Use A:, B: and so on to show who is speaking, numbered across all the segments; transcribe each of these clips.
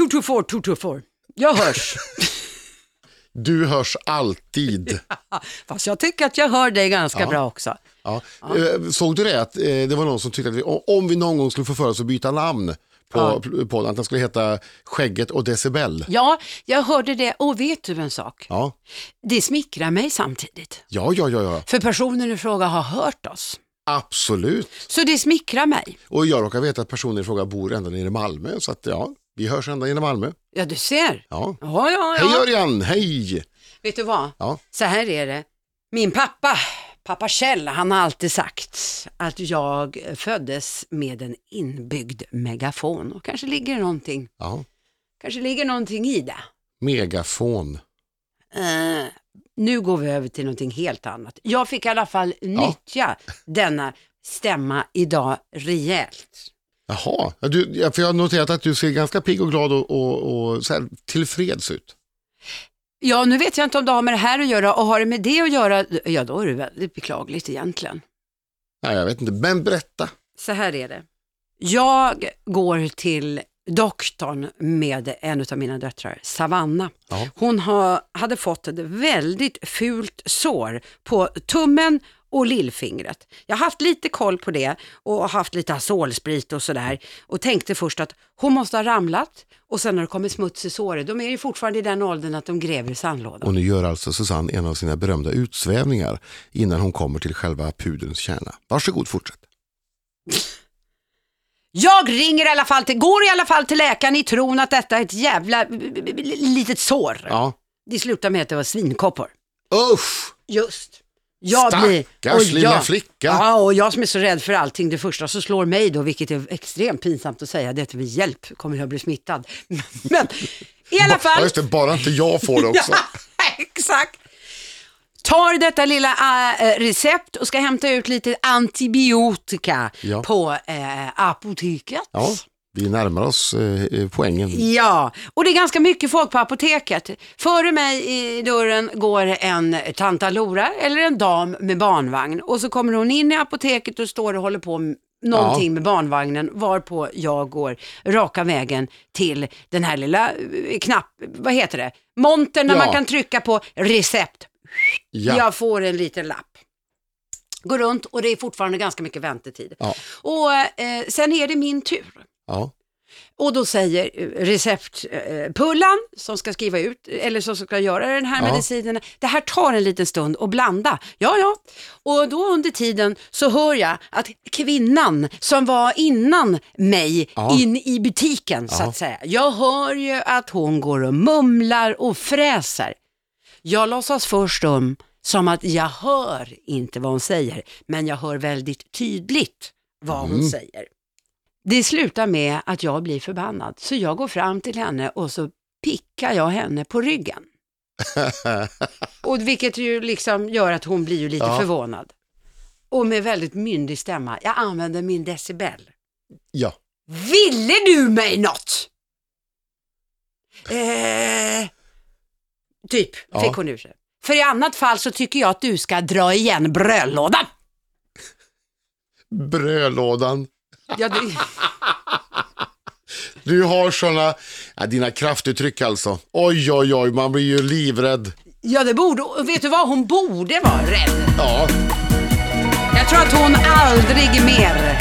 A: 224, 224. Jag hörs.
B: Du hörs alltid.
A: Fast jag tycker att jag hör dig ganska
B: Ja.
A: bra också.
B: Ja. Eh, Såg du det? Att eh, det var någon som tyckte att vi, o- om vi någon gång skulle få för oss att byta namn på p- podden, att den skulle heta Skägget och Decibel.
A: Ja, jag hörde det och vet du en sak?
B: Ja,
A: Det smickrar mig samtidigt.
B: ja, ja, ja, ja.
A: För personen i fråga har hört oss.
B: absolut.
A: Så det smickrar mig.
B: Och jag råkar veta att personen i fråga bor ända nere i Malmö, så att ja, vi hörs ända nere i Malmö.
A: Ja, du ser.
B: Ja.
A: Ja, ja,
B: Hej
A: ja.
B: Örjan, hej!
A: Vet du vad?
B: Ja.
A: Så här är det. Min pappa, pappa Kjell, han har alltid sagt att jag föddes med en inbyggd megafon. Och kanske ligger någonting,
B: Ja.
A: kanske ligger någonting i det.
B: Megafon.
A: Eh, nu går vi över till någonting helt annat. Jag fick i alla fall nyttja denna stämma idag rejält.
B: Jaha, Ja, du, ja, för jag har noterat att du ser ganska pigg och glad och, och, och så här, tillfreds ut.
A: Ja, nu vet jag inte om det har med det här att göra och har det med det att göra, ja då är det väldigt beklagligt egentligen.
B: Nej, jag vet inte, men berätta.
A: Så här är det. Jag går till doktorn med en av mina döttrar, Savanna.
B: Ja.
A: Hon ha, hade fått ett väldigt fult sår på tummen och lillfingret. Jag har haft lite koll på det och haft lite azolsprit och sådär och tänkte först att hon måste ha ramlat och sen har det kommit smuts i såret. De är ju fortfarande i den åldern att de gräver i sandlådan.
B: Och nu gör alltså Susanne en av sina berömda utsvävningar innan hon kommer till själva pudelns kärna. Varsågod, fortsätt.
A: Jag ringer i alla fall till, går i alla fall till läkaren i tron att detta är ett jävla b- b- b- litet sår.
B: Ja.
A: Det slutade med att det var svinkoppor.
B: Usch!
A: Just. Jag
B: Stackars
A: blir, och
B: lilla
A: jag,
B: flicka.
A: Ja, och jag som är så rädd för allting, det första som slår mig då, vilket är extremt pinsamt att säga, det är att vid hjälp kommer jag bli smittad. Men i alla
B: Ja,
A: fall,
B: just det, bara inte jag får det också.
A: exakt. Tar detta lilla äh, recept och ska hämta ut lite antibiotika
B: Ja.
A: på eh, apoteket.
B: Ja, vi närmar oss eh, eh, poängen.
A: Ja, och det är ganska mycket folk på apoteket. Före mig i dörren går en tant Alora eller en dam med barnvagn och så kommer hon in i apoteket och står och håller på med någonting med barnvagnen varpå jag går raka vägen till den här lilla eh, knapp, vad heter det, montern där
B: Ja.
A: man kan trycka på recept.
B: Ja.
A: Jag får en liten lapp. Går runt och det är fortfarande ganska mycket väntetid.
B: Ja.
A: Och eh, sen är det min tur.
B: Ja.
A: Och då säger eh, receptpullan som ska skriva ut, eller som ska göra den här
B: Ja.
A: medicinen, det här tar en liten stund att blanda. Ja, ja. Och då under tiden så hör jag att kvinnan som var innan mig
B: Ja.
A: in i butiken, så att säga, jag hör ju att hon går och mumlar och fräser. Jag låtsas först om som att jag hör inte vad hon säger, men jag hör väldigt tydligt vad hon säger. Det slutar med att jag blir förbannad, så jag går fram till henne och så pickar jag henne på ryggen. och vilket ju liksom gör att hon blir ju lite
B: Ja.
A: förvånad. Och med väldigt myndig stämma, jag använder min decibel.
B: ja.
A: Ville du mig något? Eh, typ, fick
B: Ja.
A: hon ur sig. För i annat fall så tycker jag att du ska dra igen brödlådan.
B: Brödlådan.
A: Ja, det,
B: Du har såna, ja, dina kraftuttryck alltså. Oj, oj, oj, man blir ju livrädd.
A: ja, det borde, och vet du vad, hon borde vara rädd.
B: Ja,
A: Jag tror att hon aldrig mer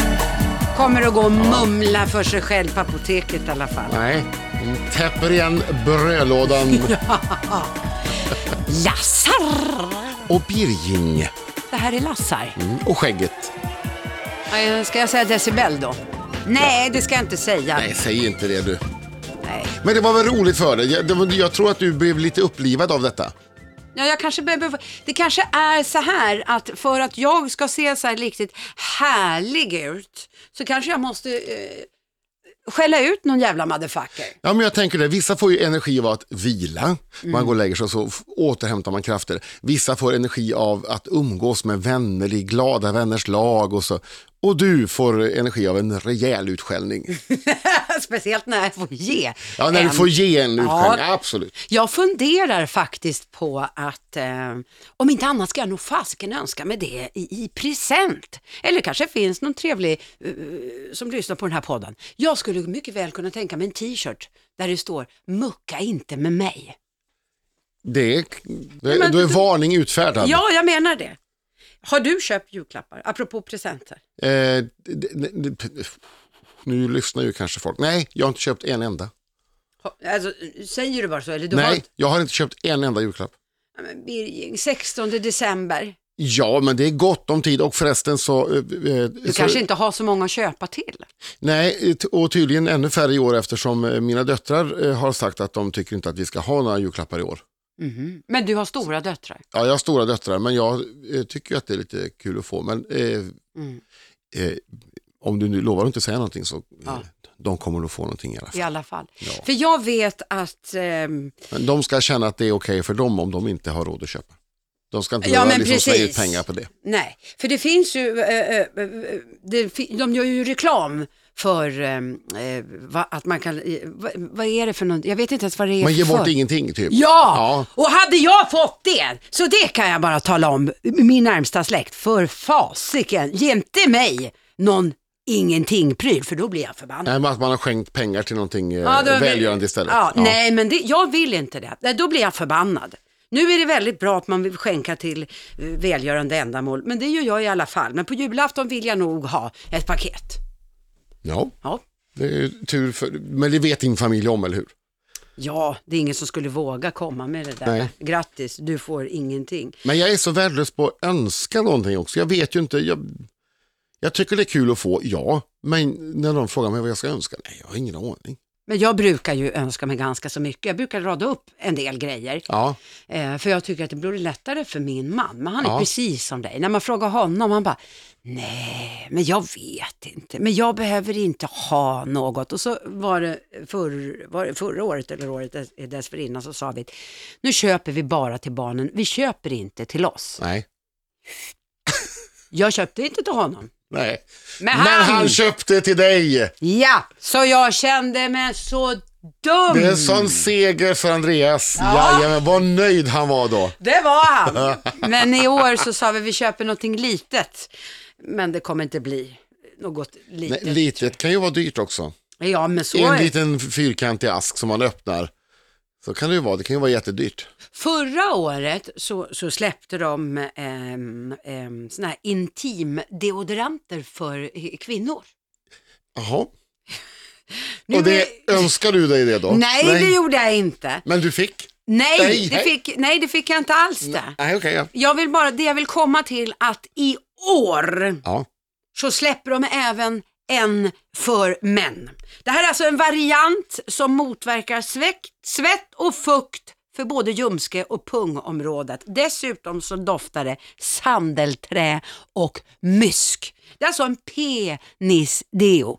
A: kommer att gå och mumla för sig själv på apoteket i alla fall.
B: nej. Hon Täpper igen brödlådan
A: Lassar!
B: och Birging
A: Det här är Lassar.
B: och skägget.
A: Eh, Ska jag säga decibel då? Nej, det ska jag inte säga.
B: Nej, säg inte det du.
A: Nej.
B: Men det var väl roligt för dig? Jag, det var- jag tror att du blev lite upplivad av detta.
A: Ja, jag kanske behöver, det kanske är så här att för att jag ska se så här riktigt härlig ut så kanske jag måste eh, skälla ut någon jävla motherfucker.
B: Ja, men jag tänker det. Vissa får ju energi av att vila,
A: Mm.
B: man går och lägger sig och så f- återhämtar man krafter. Vissa får energi av att umgås med vänner i glada vänners lag och så Och du får energi av en rejäl utskällning.
A: Speciellt när jag får ge.
B: Ja, när
A: en.
B: du får ge en utskällning,
A: Ja.
B: absolut.
A: Jag funderar faktiskt på att eh, om inte annat ska jag nog fasiken önska mig det i, i present. Eller kanske finns någon trevlig eh, som lyssnar på den här podden. Jag skulle mycket väl kunna tänka mig en t-shirt där det står “mucka inte med mig”.
B: Det är, det,
A: men-
B: då är varning utfärdad.
A: Ja, jag menar det. Har du köpt julklappar, apropå presenter?
B: Eh, d- d- d- p- nu lyssnar ju kanske folk. Nej, jag har inte köpt en enda.
A: Ha- Alltså, säger du bara så? Eller du har...
B: Nej, jag har inte köpt en enda julklapp.
A: Ja, men Birging, 16 december.
B: Ja, men det är gott om tid och förresten så... eh, eh,
A: Du
B: så
A: kanske inte har så många att köpa till.
B: Nej, t- och tydligen ännu färre i år eftersom eh, mina döttrar eh, har sagt att de tycker inte att vi ska ha några julklappar i år.
A: Mhm. Men du har stora döttrar.
B: Ja, jag har stora döttrar, men jag eh, tycker ju att det är lite kul att få. Men eh,
A: Mm.
B: eh, om du nu lovar att inte säga någonting så eh,
A: Ja.
B: de kommer att få någonting i alla fall.
A: I alla fall.
B: Ja.
A: För jag vet att, ehm,
B: Men de ska känna att det är okej för dem om de inte har råd att köpa. De ska inte
A: Ja,
B: behöva
A: men
B: liksom slänga ut
A: precis.
B: pengar på det.
A: nej, för det finns ju, eh, eh, eh, det, fi- de gör ju reklam för ehm, eh, va, att man kan, eh, va, vad är det för något, jag vet inte ens vad det är
B: Man ger
A: för.
B: bort ingenting typ.
A: Ja!
B: Ja.
A: och hade jag fått det, så det kan jag bara tala om, min närmsta släkt, för fasiken, ge inte mig någon ingenting-pryl, för då blir jag förbannad.
B: Nej, men att man har skänkt pengar till någonting eh,
A: Ja, då vill-
B: välgörande istället.
A: Ja, Nej, men det, jag vill inte det. Nej, Då blir jag förbannad. Nu är det väldigt bra att man vill skänka till eh, välgörande ändamål, men det gör jag i alla fall. Men på julafton vill jag nog ha ett paket.
B: Ja,
A: Ja,
B: det är ju tur för... Men det vet din familj om, eller hur?
A: ja det är ingen som skulle våga komma med det där.
B: Nej.
A: Grattis, du får ingenting.
B: Men jag är så värdelös på att önska någonting också. Jag vet ju inte. Jag, jag tycker det är kul att få, ja. Men när någon frågar mig vad jag ska önska, nej, jag har ingen aning.
A: Men jag brukar ju önska mig ganska så mycket. Jag brukar rada upp en del grejer.
B: Ja,
A: Eh, för jag tycker att det blir lättare för min man. Men han är
B: Ja.
A: precis som dig. När man frågar honom, han bara, nej, men jag vet inte. Men jag behöver inte ha något. Och så var det, förr, var det förra året eller året dess- dessförinnan så sa vi, nu köper vi bara till barnen. Vi köper inte till oss.
B: nej.
A: Jag köpte inte till honom.
B: nej.
A: Men
B: Men
A: han!
B: han köpte till dig.
A: Ja, så jag kände mig så dum.
B: Det är en sån seger för Andreas. Jajamän, vad nöjd han var då.
A: Det var han. Men i år så sa vi vi köper någonting litet. Men det kommer inte bli något
B: Nej,
A: litet.
B: litet kan ju vara dyrt också.
A: ja, men så är
B: En
A: det.
B: liten fyrkantig ask som man öppnar. Så kan det ju vara, det kan ju vara jättedyrt.
A: Förra året så, så släppte de ehm, ehm, såna här intimdeodoranter för eh, kvinnor.
B: Jaha,
A: Nu
B: och det
A: är-
B: önskar du dig det då?
A: Nej, det gjorde jag inte.
B: Men du fick?
A: Nej,
B: Nej,
A: det
B: nej.
A: fick, nej, det fick jag inte alls det.
B: Nej, okej. ja.
A: Jag vill bara, det jag vill komma till att i år
B: ja.
A: så släpper de även en för män. Det här är alltså en variant som motverkar sväkt, svett och fukt för både ljumske och pungområdet. Dessutom så doftar det sandelträ och mysk. Det är alltså en penisdeo.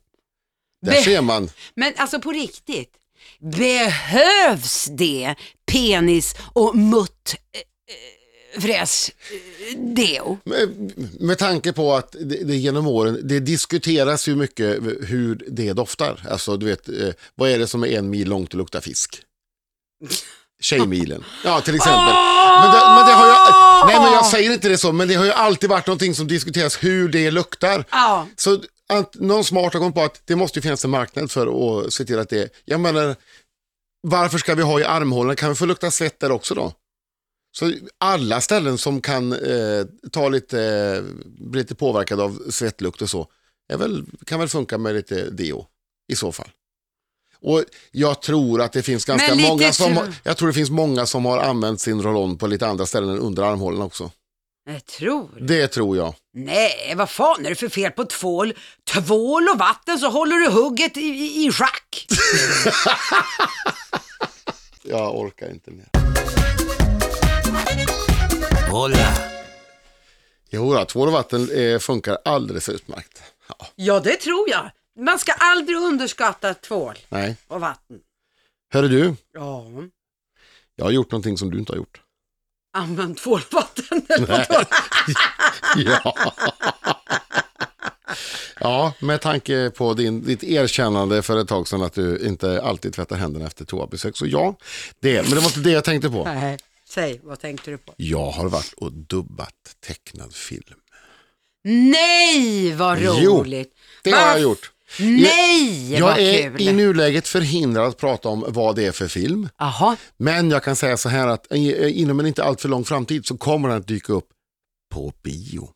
B: Där ser man.
A: Men alltså på riktigt, behövs det penis och mutt eh, eh, fräs eh, deo?
B: Med, med tanke på att det, det genom åren, det diskuteras ju mycket hur det doftar. Alltså du vet, eh, vad är det som är en mil långt och luktar fisk? Tjejmilen, ja till exempel. Men det, men det har jag, nej men jag säger inte det så, men det har ju alltid varit någonting som diskuteras hur det luktar.
A: Ja.
B: Så att någon smart har kommit på att det måste ju finnas en marknad för att se till att det, jag menar, varför ska vi ha i armhålorna, kan vi få lukta svett där också då? Så alla ställen som kan eh, ta lite, eh, bli lite påverkade av svettlukt och så, är väl, kan väl funka med lite deo i så fall. Och jag tror att det finns ganska
A: Men lite
B: många som,
A: tro-
B: har- jag tror det finns många som har använt sin roll-on på lite andra ställen än under armhålorna också.
A: Jag tror
B: Det tror jag.
A: Nej, vad fan är det för fel på tvål? Tvål och vatten så håller du hugget i, i, i schack.
B: Jag orkar inte mer.
C: Hola,
B: Jo, då, tvål och vatten eh, funkar alldeles utmärkt. Ja,
A: Ja, det tror jag. Man ska aldrig underskatta tvål
B: nej.
A: och vatten.
B: Hörru du,
A: Ja,
B: jag har gjort någonting som du inte har gjort.
A: använd tvål och vatten. eller vadå?
B: ja. Ja, med tanke på din, ditt erkännande för ett tag sedan att du inte alltid tvättar händerna efter toabesök. Så ja, det, men det var inte det jag tänkte på.
A: Nej. Säg, vad tänkte du på?
B: Jag har varit och dubbat tecknad film.
A: Nej, vad
B: Jo,
A: roligt!
B: Det
A: Va?
B: har jag gjort.
A: Nej, vad
B: Jag är
A: kul!
B: i nuläget förhindrad att prata om vad det är för film.
A: Jaha,
B: Men jag kan säga så här att i- inom en inte alltför lång framtid så kommer den att dyka upp på bio.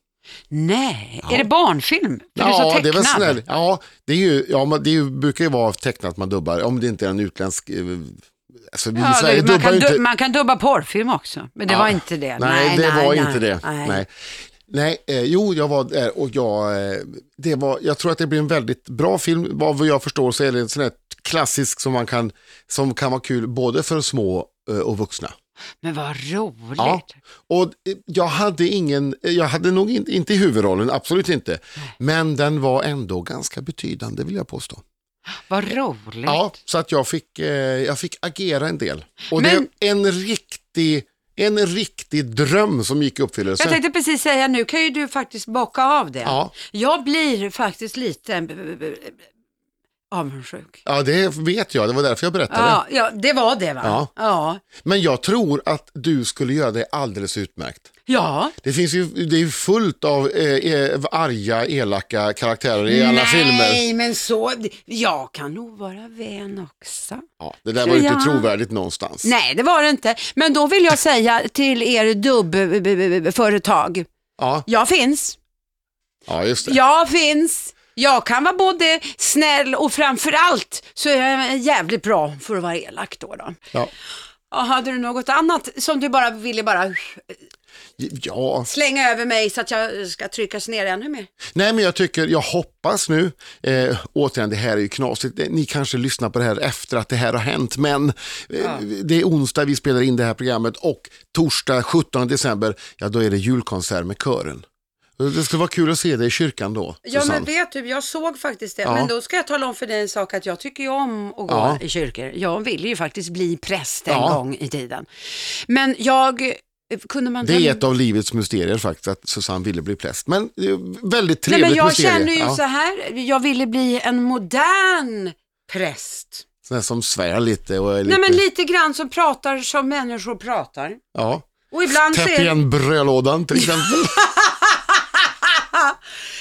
A: nej. Är det barnfilm? För du sa
B: Ja, det är väl
A: tecknad.
B: snäll. Ja, det, är ju, ja, men det är ju, brukar ju vara tecknat man dubbar, om det inte är en utländsk... eh, Alltså, vi i
A: Ja, det,
B: Sverige
A: man,
B: dubbar
A: kan
B: ju
A: du,
B: inte...
A: man kan dubba porrfilm också, men det
B: Ja.
A: var inte det.
B: Nej, det
A: nej,
B: var
A: nej,
B: inte det. Nej. Nej. eh, jo, jag var där och jag, eh, det var, jag tror att det blir en väldigt bra film. Vad jag förstår så är det en sån här klassisk som, man kan, som kan vara kul både för små eh, och vuxna.
A: Men vad roligt.
B: Ja. Och eh, jag hade ingen, eh, jag hade nog in, inte huvudrollen, absolut inte. Men den var ändå ganska betydande vill jag påstå.
A: Vad roligt.
B: Ja, så att jag fick, eh, jag fick agera en del. Och
A: Men-
B: det är en riktig, en riktig dröm som gick i uppfyllelse.
A: Jag tänkte precis säga, nu kan ju du faktiskt bocka av det.
B: Ja.
A: Jag blir faktiskt lite b- b- b- avundsjuk.
B: Ja, det vet jag, det var därför jag berättade.
A: Ja, ja, det var det va?
B: Ja.
A: Ja.
B: Men jag tror att du skulle göra det alldeles utmärkt.
A: ja.
B: Det finns ju, det är ju fullt av eh, eh, arga, elaka karaktärer i alla
A: Nej,
B: filmer.
A: men så, jag kan nog vara vän också.
B: Ja, det där var ju inte
A: Ja.
B: trovärdigt någonstans.
A: Nej, det var det inte. Men då vill jag säga till er dubbföretag,
B: Ja,
A: jag finns.
B: ja, just det.
A: Jag finns. Jag kan vara både snäll och framförallt så är jag jävligt bra för att vara elak då. då.
B: Ja.
A: Ja, hade du något annat som du bara ville bara
B: ja.
A: slänga över mig så att jag ska tryckas ner ännu mer?
B: Nej men jag tycker, jag hoppas nu, eh, återigen det här är ju knasigt, Eh, ni kanske lyssnar på det här efter att det här har hänt, men eh, det är onsdag vi spelar in det här programmet och torsdag 17 december, ja då är det julkonsert med kören. Det skulle vara kul att se dig i kyrkan då,
A: Ja
B: Susanne.
A: men vet du, jag såg faktiskt det.
B: Ja.
A: Men då ska jag tala om för dig en sak att jag tycker ju om att gå
B: Ja.
A: i kyrkor. Jag ville ju faktiskt bli präst en
B: Ja.
A: gång i tiden. Men jag, kunde man...
B: Det är ett av livets mysterier faktiskt, att Susanne ville bli präst. Men det är väldigt
A: Nej
B: trevligt
A: men jag
B: mysterie.
A: känner ju
B: ja.
A: så här, jag ville bli en modern präst.
B: Sån här som svär lite och är lite...
A: Nej men lite grann som pratar som människor pratar.
B: ja.
A: Och ibland så
B: Täpp
A: är det...
B: igen brödlådan till exempel.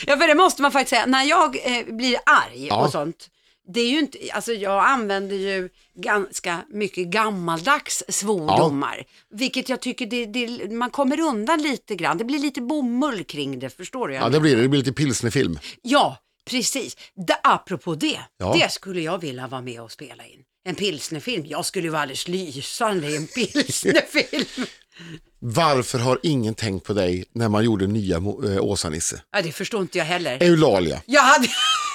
A: Ja för det måste man faktiskt säga, när jag eh, blir arg
B: Ja.
A: och sånt, det är ju inte, alltså jag använder ju ganska mycket gammaldags svordomar. Vilket jag tycker, det, det, man kommer undan lite grann, det blir lite bomull kring det, förstår du?
B: ja det blir det, det blir lite pilsnerfilm.
A: Ja, precis. Da, apropå det,
B: Ja.
A: det skulle jag vilja vara med och spela in. En pilsnerfilm, jag skulle ju vara alldeles lysande i en pilsnerfilm.
B: Varför har ingen tänkt på dig när man gjorde nya Mo- eh, Åsa-Nisse?
A: ja, det förstår inte jag heller.
B: Eulalia.
A: Jag hade...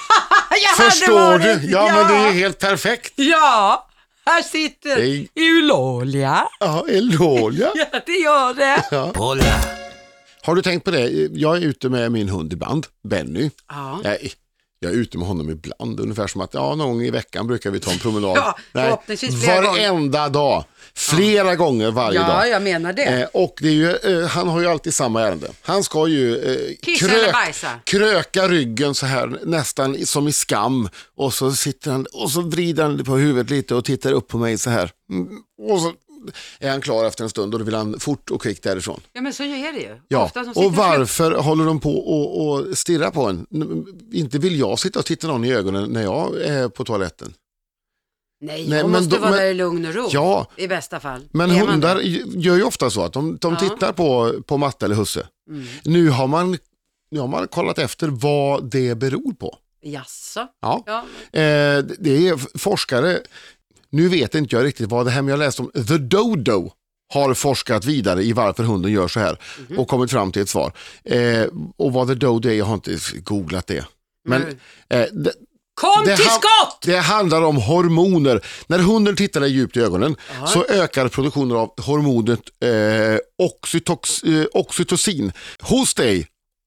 A: jag
B: Förstår
A: hade
B: du?
A: varit...
B: Ja, men det är helt perfekt.
A: Ja, här sitter
B: Hej.
A: Eulalia.
B: Ja, Eulalia.
A: Ja, det gör det.
C: hola,
B: Har du tänkt på det? Jag är ute med min hund ibland, Benny.
A: Ja.
B: Nej, jag är ute med honom ibland, ungefär som att ja, någon gång i veckan brukar vi ta en promenad.
A: Ja, förhoppningsvis flera
B: varenda dag, flera gånger varje
A: ja,
B: dag.
A: jag menar det.
B: Eh, och det är ju, eh, han har ju alltid samma ärende. Han ska ju eh,
A: Kissa eller bajsa?
B: kröka ryggen så här nästan i- som i skam och så sitter han och så vrider han på huvudet lite och tittar upp på mig så här. Mm, Och så är han klar efter en stund och då vill han fort och kvickt därifrån.
A: Ja, men så är det ju.
B: Ja,
A: Ofta som sitter
B: och varför håller de på och, och stirrar på en? N- Inte vill jag sitta och titta någon i ögonen när jag är på toaletten.
A: Nej,
B: Nej,
A: Nej
B: men
A: måste
B: då-
A: vara
B: men-
A: där i lugn och ro.
B: Ja.
A: I bästa fall.
B: Men
A: Är man
B: hundar
A: det?
B: gör ju ofta så att de, de
A: Ja. Mm.
B: tittar på, på matte eller husse. Nu, har man, nu har man kollat efter vad det beror på.
A: Jaså?
B: Ja.
A: Ja.
B: Eh, det är f- forskare, nu vet inte jag riktigt vad det här, men jag läste om The Dodo har forskat vidare i varför hunden gör så här
A: Mhm.
B: och kommit fram till ett svar. Eh, och vad The Dodo är, jag har inte googlat det. Men
A: Mm.
B: eh, det,
A: Kom
B: det
A: till
B: han-
A: skott!
B: det handlar om hormoner. När hunden tittar dig djupt i ögonen så ökar produktionen av hormonet eh, oxytox, eh, oxytocin hos dig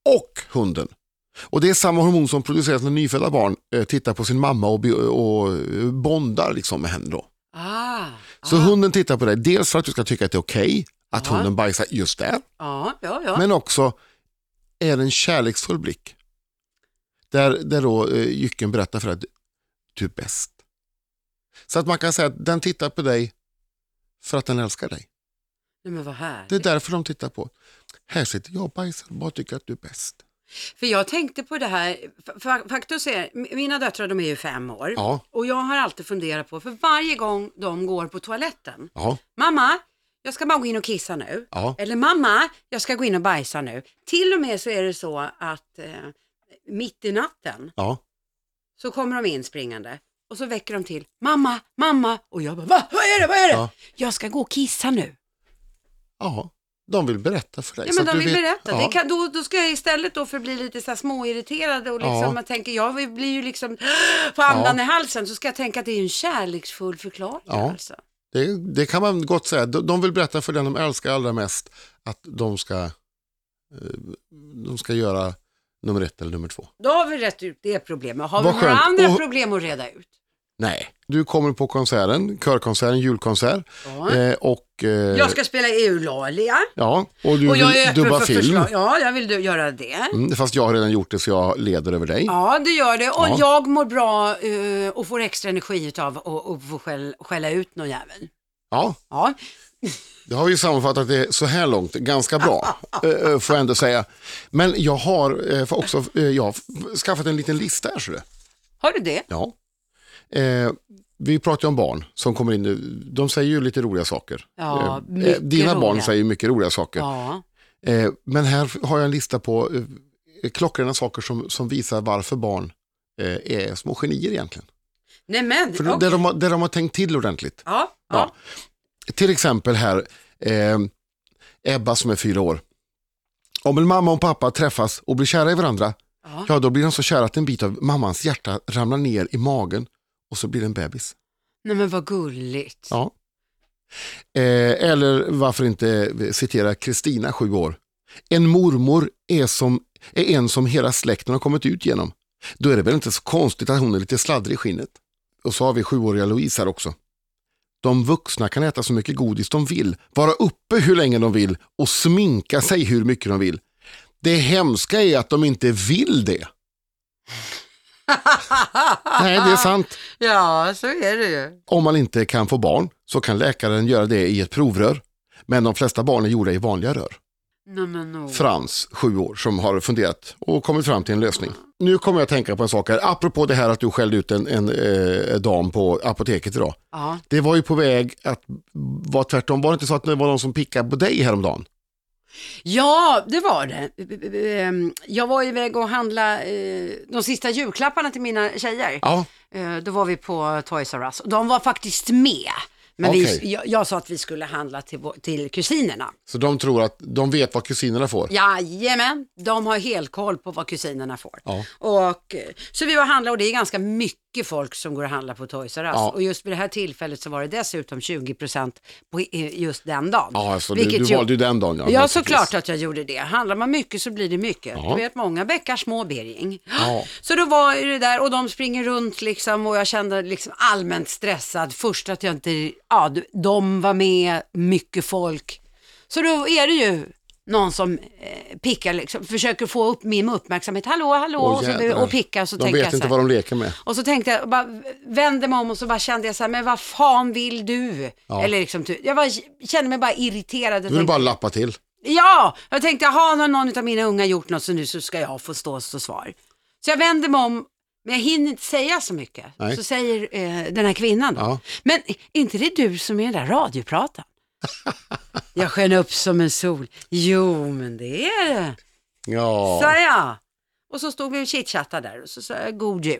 B: och hunden. Och Det är samma hormon som produceras när nyfödda barn eh, tittar på sin mamma och, be- och eh, bondar liksom med henne. Då.
A: Ah,
B: Så hunden tittar på dig, dels för att du ska tycka att det är okej att
A: Ja.
B: hunden bajsar just där,
A: Ah. ja, ja, ja.
B: men också är det en kärleksfull blick. Där, där då eh, jycken berättar för dig att du är bäst. Så att man kan säga att den tittar på dig för att den älskar dig.
A: Nej, men vad här.
B: Det är därför de tittar på. Här sitter jag och bajsar och bara tycker att du är bäst.
A: För jag tänkte på det här, fa- fa- faktus är, m- mina döttrar de är ju fem år.
B: Ja,
A: Och jag har alltid funderat på, för varje gång de går på toaletten,
B: ja,
A: mamma, jag ska bara gå in och kissa nu.
B: ja.
A: Eller mamma, jag ska gå in och bajsa nu. Till och med så är det så att eh, mitt i natten
B: ja.
A: så kommer de in springande och så väcker de till, mamma, mamma. Och jag bara, va? Vad är det? Vad är det?
B: Ja.
A: Jag ska gå och kissa nu.
B: Ja, de vill berätta för dig.
A: Ja
B: så
A: men
B: att
A: de
B: du
A: vill
B: vet-
A: berätta.
B: Ja,
A: Det kan, då, då ska jag istället då för att bli lite så här småirriterad och liksom,
B: Ja.
A: man tänker, jag blir ju liksom på andan i halsen, så ska jag tänka att det är en kärleksfull förklaring
B: Ja.
A: alltså.
B: det, det kan man gott säga. De, de vill berätta för den de älskar allra mest att de ska, eh, de ska göra nummer ett eller nummer två.
A: Då har vi rätt ut det problemet. Har vi
B: Vad
A: några
B: skönt.
A: andra
B: Och-
A: problem att reda ut?
B: Nej. Du kommer på konserten, körkonserten, julkonsert.
A: Ja.
B: Eh, och, eh,
A: Jag ska spela Eulalia
B: Ja, och du
A: och jag är
B: vill
A: öppen
B: dubba
A: för
B: film.
A: förslag. Ja, jag vill du- göra det.
B: Mm, fast jag har redan gjort det så jag leder över dig.
A: Ja, det gör det. Och
B: Ja.
A: jag mår bra eh, och får extra energi utav och, och får skäll, skälla ut någon jävel.
B: Ja,
A: Ja,
B: Det har vi ju sammanfattat det så här långt ganska bra, eh, eh, får jag ändå säga. Men jag har eh, för också eh, jag har f- skaffat en liten lista här. Så det.
A: har du det?
B: Ja. Eh, Vi pratar ju om barn som kommer in, nu. de säger ju lite roliga saker.
A: Ja,
B: Eh,
A: mycket
B: Dina barn
A: roliga.
B: säger ju mycket roliga saker.
A: Ja.
B: Eh, Men här har jag en lista på eh, klockrena saker som, som visar varför barn eh, är små genier egentligen.
A: Nej men,
B: För
A: okej.
B: där, de har, där de har tänkt till ordentligt.
A: ja, ja.
B: Ja. Till exempel här, eh, Ebba som är fyra år. Om en mamma och pappa träffas och blir kära i varandra,
A: Ja.
B: ja, då blir de så kära att en bit av mammans hjärta ramlar ner i magen och så blir det en bebis.
A: Nej men vad gulligt.
B: Ja. Eh, eller varför inte citera Kristina, sju år. En mormor är, som, är en som hela släkten har kommit ut genom. Då är det väl inte så konstigt att hon är lite sladdrig i skinnet. Och så har vi sjuåriga Louise här också. De vuxna kan äta så mycket godis de vill, vara uppe hur länge de vill och sminka sig hur mycket de vill. Det hemska är att de inte vill det. Nej, det är sant.
A: Ja, så är det ju.
B: Om man inte kan få barn så kan läkaren göra det i ett provrör. Men de flesta barn är gjorda i vanliga rör.
A: Nej men oh.
B: Frans, sju år, som har funderat och kommit fram till en lösning. Nu kommer jag att tänka på en sak här, apropå det här att du skällde ut en, en eh, dam på apoteket idag.
A: Ja.
B: Det var ju på väg att vara tvärtom, var det inte så att det var någon som pickade på dig häromdagen?
A: ja, det var det. Ehm, Jag var iväg och handla eh, de sista julklapparna till mina tjejer.
B: Ja,
A: Eh, Då var vi på Toys R Us och de var faktiskt med. Men
B: Okej.
A: vi, jag, jag sa att vi skulle handla till, vår- till kusinerna.
B: så de tror att de vet vad kusinerna får.
A: Jajamän, de har helt koll på vad kusinerna får.
B: Ja.
A: Och, eh, så vi var och handlade och det är ganska mycket folk som går och handlar på Toys R Us.
B: Ja.
A: Och just vid det här tillfället så var det dessutom 20% på eh, just den dagen.
B: Ja, alltså, du, du
A: ju-
B: valde ju den dagen.
A: Ja,
B: naturligtvis.
A: såklart att jag gjorde det. Handlar man mycket så blir det mycket.
B: Ja.
A: Du vet, många bäckar små Birging.
B: Ja.
A: Så då var det där och de springer runt liksom och jag kände liksom allmänt stressad. Först att jag inte, ja, du- de var med, mycket folk. Så då är det ju någon som eh, pickar, liksom, försöker få upp min uppmärksamhet. Hallå, hallå,
B: Åh,
A: och, så,
B: jädrar.
A: och pickar. Så
B: De
A: tänker
B: vet
A: jag så
B: inte
A: här.
B: vad de leker med.
A: Och så tänkte jag, bara vände mig om och så bara kände jag så här, men vad fan vill du?
B: Ja.
A: Eller liksom, ty- jag bara, kände mig bara irriterad. Jag
B: Du vill
A: tänkte-
B: bara lappa till.
A: Ja, jag tänkte, har någon, någon av mina unga gjort något så nu så ska jag få stå och stå svar. Så jag vänder mig om, men jag hinner inte säga så mycket.
B: Nej.
A: Så säger eh, den här kvinnan då,
B: Ja.
A: men är inte det du som är den där radiopratan? jag sken upp som en sol. Jo, men det är det,
B: Ja.
A: sa jag. Och så stod vi och chitchattade där och så sa jag god jul.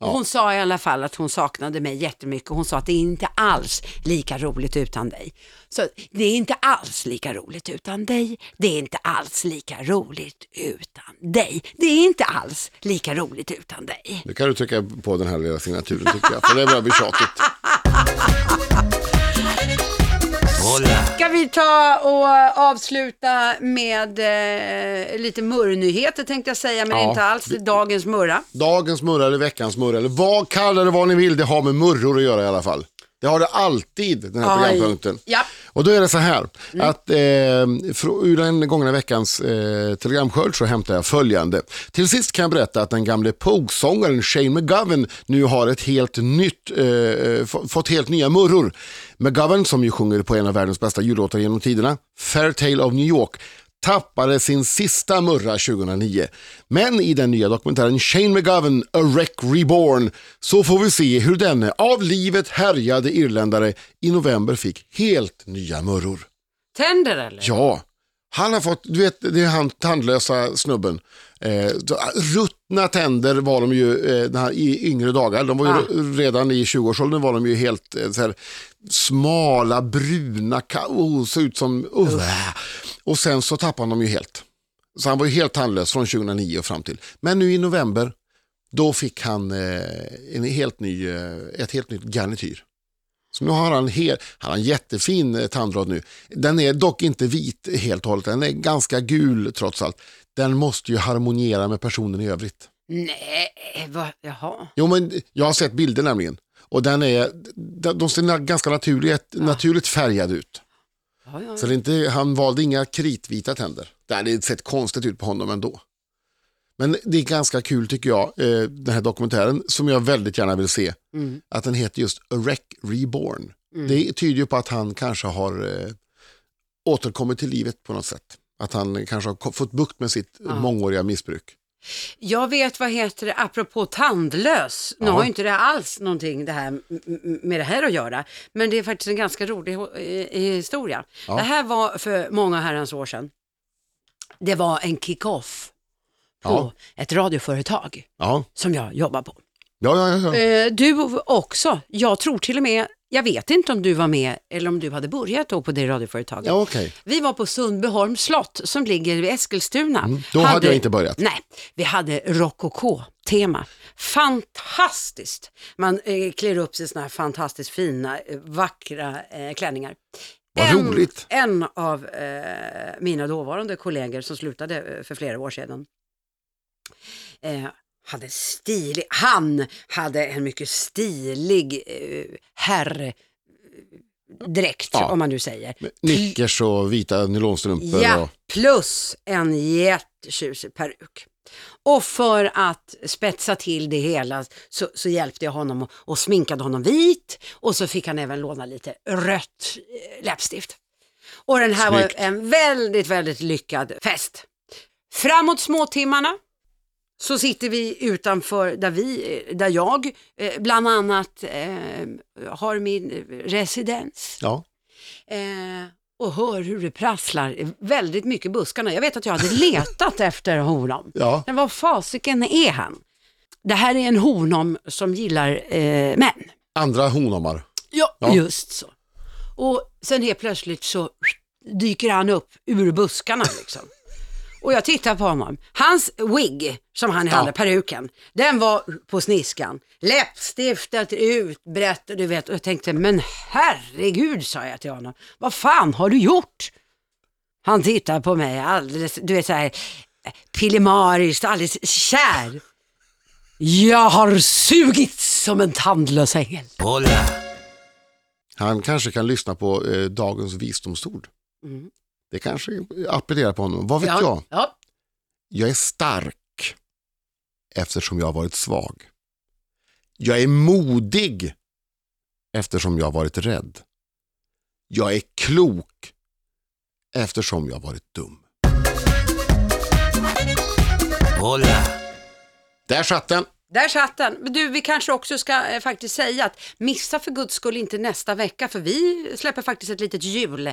A: Och
B: Ja.
A: Hon sa i alla fall att hon saknade mig jättemycket. Hon sa att det är inte alls lika roligt utan dig. Så det är inte alls lika roligt utan dig. Det är inte alls lika roligt utan dig. Det är inte alls lika roligt utan dig.
B: Nu kan du trycka på den här lilla signaturen tycker jag, för det börjar bli tjatigt.
C: hola,
A: Ska vi ta och avsluta med eh, lite murrnyheter tänkte jag säga, men
B: Ja.
A: inte alls. Det är dagens murra.
B: Dagens murra eller veckans murra, eller vad kallar det vad ni vill, det har med murror att göra i alla fall. Det har det alltid, den här
A: Aj.
B: programpunkten.
A: Ja.
B: Och då är det så här, att eh, fr- ur den gångna veckans eh, telegramskörd så hämtar jag följande. Till sist kan jag berätta att den gamle Pogue-sångaren Shane McGovern nu har ett helt nytt, eh, f- fått helt nya murror. McGovern, som ju sjunger på en av världens bästa jullåtar genom tiderna, Fairtale of New York, tappade sin sista murra 2009. Men i den nya dokumentären Shane McGovern, A Wreck Reborn, så får vi se hur denne av livet härjade irländare i november fick helt nya murror.
A: Tänder eller?
B: Ja, han har fått, du vet, det är han tandlösa snubben. Eh, så, ruttna tänder var de ju eh, den här, i yngre dagar. De var ju
A: Ah.
B: re- redan i 20-årsåldern var de ju helt eh, så här, smala, bruna, ka- oh, såg ut som... Uh. Och sen så tappade de ju helt. Så han var ju helt tandlös från 2009 och fram till. Men nu i november, då fick han eh, en helt ny, eh, ett helt nytt garnityr. Så nu har han, hel, han har en jättefin eh, tandrad nu. Den är dock inte vit helt och hållet, den är ganska gul trots allt. Den måste ju harmoniera med personen i övrigt.
A: Nej, vad, jaha.
B: Jo men jag har sett bilder nämligen. Och den är, de de ser na- ganska naturligt, naturligt färgad ut.
A: Ja, ja.
B: Så det är inte, han valde inga kritvita tänder. Det hade sett konstigt ut på honom ändå. Men det är ganska kul tycker jag, eh, den här dokumentären som jag väldigt gärna vill se.
A: Mm.
B: Att den heter just A Wreck Reborn. Det tyder ju på att han kanske har eh, återkommit till livet på något sätt. Att han kanske har ko- fått bukt med sitt mångåriga missbruk.
A: Jag vet, vad heter det, apropå tandlös, nu
B: Ja.
A: har ju inte det här alls någonting det här, m- m- med det här att göra, men det är faktiskt en ganska rolig ho- eh, historia.
B: Ja.
A: Det här var för många herrans år sedan. Det var en kick-off på
B: Ja.
A: ett radioföretag
B: Ja,
A: som jag jobbar på.
B: ja, ja. ja, ja.
A: Eh, Du också, jag tror till och med, jag vet inte om du var med eller om du hade börjat då på det radioföretaget.
B: ja okej.
A: Vi var på Sundbyholms slott som ligger vid Eskilstuna.
B: Mm. Då hade jag inte börjat.
A: Nej, vi hade rokoko-tema. Fantastiskt! Man eh, klär upp sig i såna här fantastiskt fina, eh, vackra eh, klänningar.
B: Vad
A: en,
B: roligt.
A: En av eh, mina dåvarande kollegor som slutade eh, för flera år sedan eh, hade stilig, han hade en mycket stilig eh, herrdräkt,
B: Ja.
A: om man nu säger.
B: Nickers och vita nylonstrumpor.
A: Ja,
B: Och,
A: plus en jättetjusig peruk. Och för att spetsa till det hela så, så hjälpte jag honom och, och sminkade honom vit och så fick han även låna lite rött eh, läppstift. Och den här
B: Snyggt.
A: var en väldigt, väldigt lyckad fest. Framåt småtimmarna så sitter vi utanför där vi, eh, där jag eh, bland annat eh, har min eh, residens
B: ja.
A: eh, och hör hur det prasslar väldigt mycket i buskarna. Jag vet att jag hade letat efter honom.
B: Ja.
A: Men vad fasiken är han? Det här är en honom som gillar eh, män.
B: Andra honomar.
A: Ja,
B: Ja.
A: just så. Och sen helt plötsligt så dyker han upp ur buskarna liksom. Och jag tittar på honom. Hans wig, som han hade, peruken, den var på sniskan. Läppstiftet utbrett och du vet. Och jag tänkte, men herregud, sa jag till honom. Vad fan har du gjort? Han tittar på mig alldeles, du vet så här, pillemariskt, alldeles kär. Jag har sugit som en tandlös ängel.
C: hola,
B: Han kanske kan lyssna på eh, dagens visdomsord.
A: Mm.
B: Det kanske appellerar på honom. Vad vet jag?
A: ja.
B: Jag är stark eftersom jag har varit svag. Jag är modig eftersom jag har varit rädd. Jag är klok eftersom jag har varit dum.
C: hola,
B: Där satt den!
A: Där satt den. Men du, vi kanske också ska eh, faktiskt säga att missa för guds skull inte nästa vecka för vi släpper faktiskt ett litet jul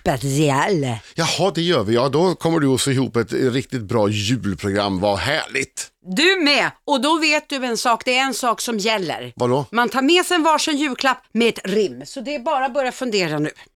A: special.
B: Jaha, det gör vi. Ja, då kommer du att se ihop ett riktigt bra julprogram. Vad härligt!
A: Du med! Och då vet du en sak, det är en sak som gäller.
B: Vadå?
A: Man tar med sig en varsin julklapp med ett rim, så det är bara att börja fundera nu.